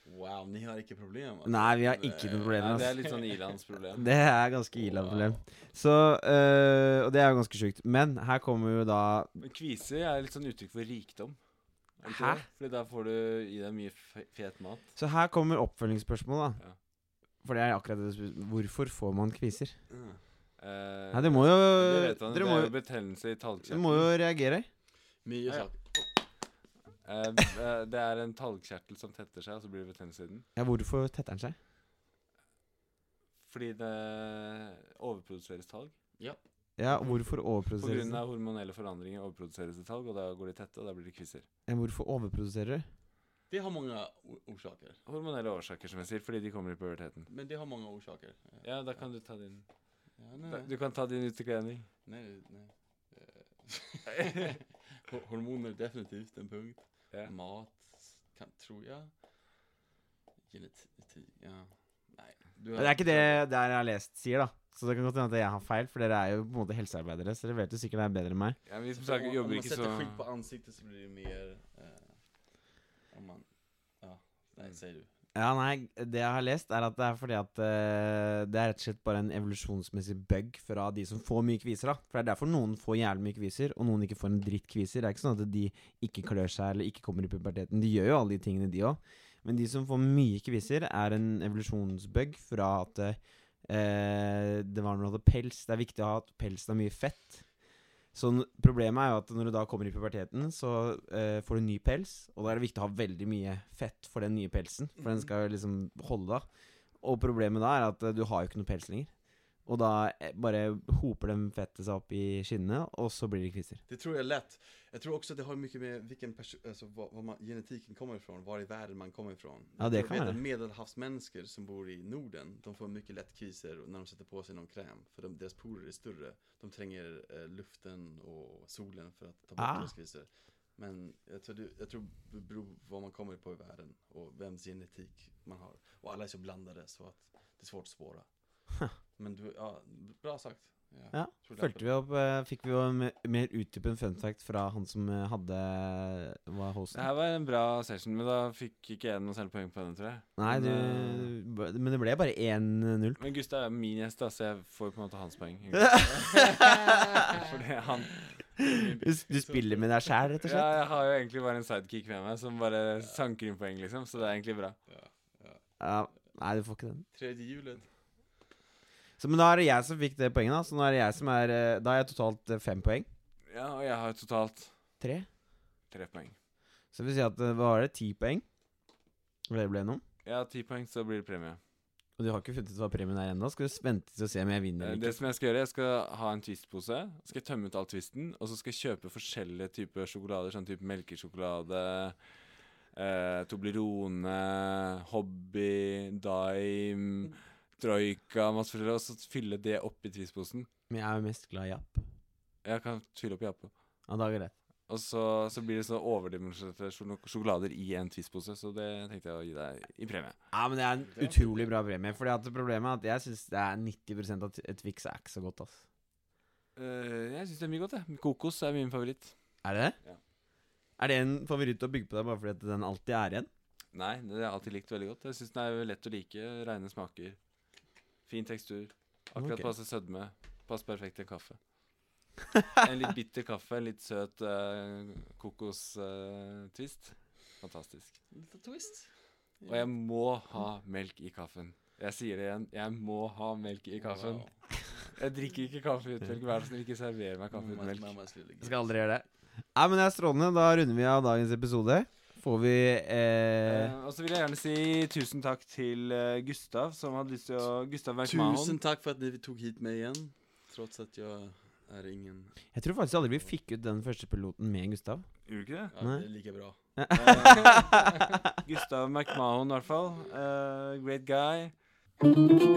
[SPEAKER 3] Wow, ni har ikke problem? altså.
[SPEAKER 1] Nei, vi har ikke noe problem.
[SPEAKER 2] Ja,
[SPEAKER 1] ass.
[SPEAKER 2] det er litt sånn ilandsproblem.
[SPEAKER 1] Det er ganske illa-problem. Så øh, Og det er jo ganske sjukt. Men her kommer jo da
[SPEAKER 2] Men kviser er litt sånn uttrykk for rikdom. Er det ikke
[SPEAKER 1] Hæ?
[SPEAKER 2] det? Fordi da får du i deg mye fe- fet mat.
[SPEAKER 1] Så her kommer oppfølgingsspørsmålet, da.
[SPEAKER 2] Ja.
[SPEAKER 1] For det er akkurat det du spør. Hvorfor får man kviser?
[SPEAKER 3] Mm.
[SPEAKER 2] Eh,
[SPEAKER 1] Nei, det må jo
[SPEAKER 2] det vet han,
[SPEAKER 1] Dere
[SPEAKER 2] det
[SPEAKER 1] må,
[SPEAKER 2] er
[SPEAKER 1] jo-
[SPEAKER 2] jo betennelse i
[SPEAKER 1] dere må jo
[SPEAKER 2] talgkjertelen.
[SPEAKER 1] reagere.
[SPEAKER 3] Mye
[SPEAKER 2] Ja, ja.
[SPEAKER 3] saker.
[SPEAKER 2] Eh, eh, det er en talgkjertel som tetter seg, og så blir det betennelse i den.
[SPEAKER 1] Ja, hvorfor tetter den seg?
[SPEAKER 2] Fordi det overproduseres talg.
[SPEAKER 1] Ja, hvorfor
[SPEAKER 2] På
[SPEAKER 1] overproduserer
[SPEAKER 2] grunn
[SPEAKER 1] den?
[SPEAKER 2] av hormonelle forandringer overproduseres det talg, og da går de tette, og da blir det kviser.
[SPEAKER 1] Ja, Hvorfor overproduserer du?
[SPEAKER 3] Det har många o- orsaker.
[SPEAKER 2] Hormonelle årsaker, som jeg sier, fordi de kommer i puberteten.
[SPEAKER 3] Men det har många orsaker.
[SPEAKER 2] Ja, da kan du ta din
[SPEAKER 3] Ja,
[SPEAKER 2] da,
[SPEAKER 3] nej.
[SPEAKER 2] Du kan ta din utekledning.
[SPEAKER 3] Nej, nej. Eh, ho- Hormoner är definitivt en punkt.
[SPEAKER 2] Ja.
[SPEAKER 3] Mat, kan, tror jag. Genetik, ja. Nej. Du
[SPEAKER 1] Det er ikke det der jeg har lest sier, da. Så det kan godt hende at jeg har feil, for dere er jo på en måte helsearbeidere. Så dere vet jo sikkert det er bedre enn meg.
[SPEAKER 2] Ja, vi som
[SPEAKER 3] Så
[SPEAKER 2] sagt
[SPEAKER 3] om, om
[SPEAKER 2] jobber
[SPEAKER 3] man
[SPEAKER 2] ikke så
[SPEAKER 3] sätter skit på ansiktet så blir det mer... Eh, om man... Ja, nej,
[SPEAKER 2] Mm.
[SPEAKER 3] säger du.
[SPEAKER 1] Ja, nei, det jeg har lest, er at det er fordi at eh, det er rett og slett bare en evolusjonsmessig bug fra de som får mye kviser, da. For det er derfor noen får jævlig mye kviser, og noen ikke får en dritt kviser. Det er ikke sånn at de ikke klør seg eller ikke kommer i puberteten. De gjør jo alle de tingene, de òg. Men de som får mye kviser, er en evolusjonsbug fra at eh, det var noe av pels. Det er viktig å ha at pelsen har mye fett. Så n- problemet er jo at når du da kommer i puberteten, så eh, får du ny pels, og da er det viktig å ha veldig mye fett for den nye pelsen, for den skal jo liksom holde da. Og problemet da er at eh, du har jo ikke noe pels lenger. Og da eh, bare hoper den fettet seg opp i skinnene, og så blir det kviser.
[SPEAKER 3] Det tror jag är lätt. Jag tror också att det har mycket med vilken perso- alltså vad, vad man, genetiken kommer ifrån, var i världen man kommer ifrån.
[SPEAKER 1] Ja, det
[SPEAKER 3] Jag
[SPEAKER 1] kan
[SPEAKER 3] vet
[SPEAKER 1] vara.
[SPEAKER 3] att Medelhavsmänniskor som bor i Norden, de får mycket lätt kriser när de sätter på sig någon kräm, för de, deras porer är större. De tränger eh, luften och solen för att ta bort
[SPEAKER 1] Ah.
[SPEAKER 3] deras kriser. Men jag tror, det, jag tror det beror på vad man kommer på i världen och vems genetik man har. Och alla är så blandade så att det är svårt att spåra. Men du, ja, bra sagt.
[SPEAKER 1] Ja,
[SPEAKER 3] tror det är
[SPEAKER 1] Fulgte vi opp, eh, fikk vi jo en me- mer utdypende fun fact fra han som eh, hadde var
[SPEAKER 2] Det
[SPEAKER 1] hosten.
[SPEAKER 2] her var en bra session, men da fikk ikke jeg noe særlig poeng på den, tror jeg.
[SPEAKER 1] Nei, du,
[SPEAKER 2] Men,
[SPEAKER 1] b- men det ble bare 1-0.
[SPEAKER 2] Men Gustav er min gjest, da, så jeg får på en måte hans poeng. Fordi han
[SPEAKER 1] Du s- du spiller med deg sjæl, rett og
[SPEAKER 2] Ja,
[SPEAKER 1] slett.
[SPEAKER 2] jeg har jo egentlig bare en sidekick med meg som bare sanker inn poeng, liksom, så det er egentlig bra.
[SPEAKER 1] Ja, nei, du får ikke den.
[SPEAKER 3] Tredje hjulet.
[SPEAKER 1] Så, men da er det jeg som fikk det poenget, da. Så nå er det jeg som er eh, Da har jeg totalt eh, fem poeng.
[SPEAKER 2] Ja, og jeg har totalt
[SPEAKER 1] Tre.
[SPEAKER 2] tre poeng.
[SPEAKER 1] Så det vil si at eh, hva var det? Ti poeng? Hvor det ble noe?
[SPEAKER 2] Jeg har ti poeng, så blir det premie.
[SPEAKER 1] Og du har ikke funnet ut hva premien er ennå? Skal du vente til å se om jeg vinner
[SPEAKER 2] Eh,
[SPEAKER 1] eller
[SPEAKER 2] Det
[SPEAKER 1] ikke?
[SPEAKER 2] som jeg skal gjøre, jeg skal ha en Twist-pose. Skal jeg tømme ut all Twisten, og så skal jeg kjøpe forskjellige typer sjokolader, sånn type melkesjokolade, eh, Toblerone, Hobby, Dime, Troika, masse forskjellig, og så fylle det opp i Twist-posen.
[SPEAKER 1] Men jeg er jo mest glad i Japp.
[SPEAKER 2] Jeg kan fylle opp i Jappe.
[SPEAKER 1] Ja, da er det greit.
[SPEAKER 2] Og så, så blir det sånn overdimensjonerte sjok- sjokolader i en Twist-pose, så det tenkte jeg å gi deg i premie.
[SPEAKER 1] Ja, men det er en utrolig bra premie. Fordi at problemet er at jeg syns det er 90 av t- Twix er ikke så godt, ass.
[SPEAKER 2] Eh, jeg syns det er mye godt, jeg. Kokos er min favoritt.
[SPEAKER 1] Er det det?
[SPEAKER 2] Ja.
[SPEAKER 1] Er det en favoritt å bygge på deg bare fordi at den alltid er igjen?
[SPEAKER 2] Nei, det har jeg alltid likt veldig godt. Jeg syns den er lett å like. Rene smaker. Fin tekstur. Akkurat
[SPEAKER 1] Ok.
[SPEAKER 2] passe sødme. Passer perfekt til kaffe. En litt bitter kaffe, en litt søt uh, kokostvist. Fantastisk.
[SPEAKER 3] Lite twist.
[SPEAKER 2] Og jeg må ha melk i kaffen. Jeg sier det igjen, jeg må ha melk i kaffen.
[SPEAKER 3] Wow.
[SPEAKER 2] Jeg drikker ikke kaffe uten melk. Vær så snill, ikke server meg kaffe uten
[SPEAKER 3] Mammas-
[SPEAKER 2] melk.
[SPEAKER 3] mammas lille
[SPEAKER 1] Jeg
[SPEAKER 3] gutt.
[SPEAKER 1] skal aldri gjøre det. Nei, men det er strålende. Da runder vi av dagens episode. Får vi eh,
[SPEAKER 2] Eh, og så vil jeg gjerne si tusen takk til eh, Gustav, som hadde lyst til å Gustav Werkmahon.
[SPEAKER 3] Tusen tack för att ni tog hit mig igen. Trots att jag är ingen...
[SPEAKER 1] Jeg tror faktisk aldri vi fikk ut den første piloten med Gustav.
[SPEAKER 2] Gjorde du ikke det?
[SPEAKER 3] Ja,
[SPEAKER 1] Nej.
[SPEAKER 3] det är lika bra.
[SPEAKER 2] Eh, Gustav McMahon, i hvert fall. Eh, great guy.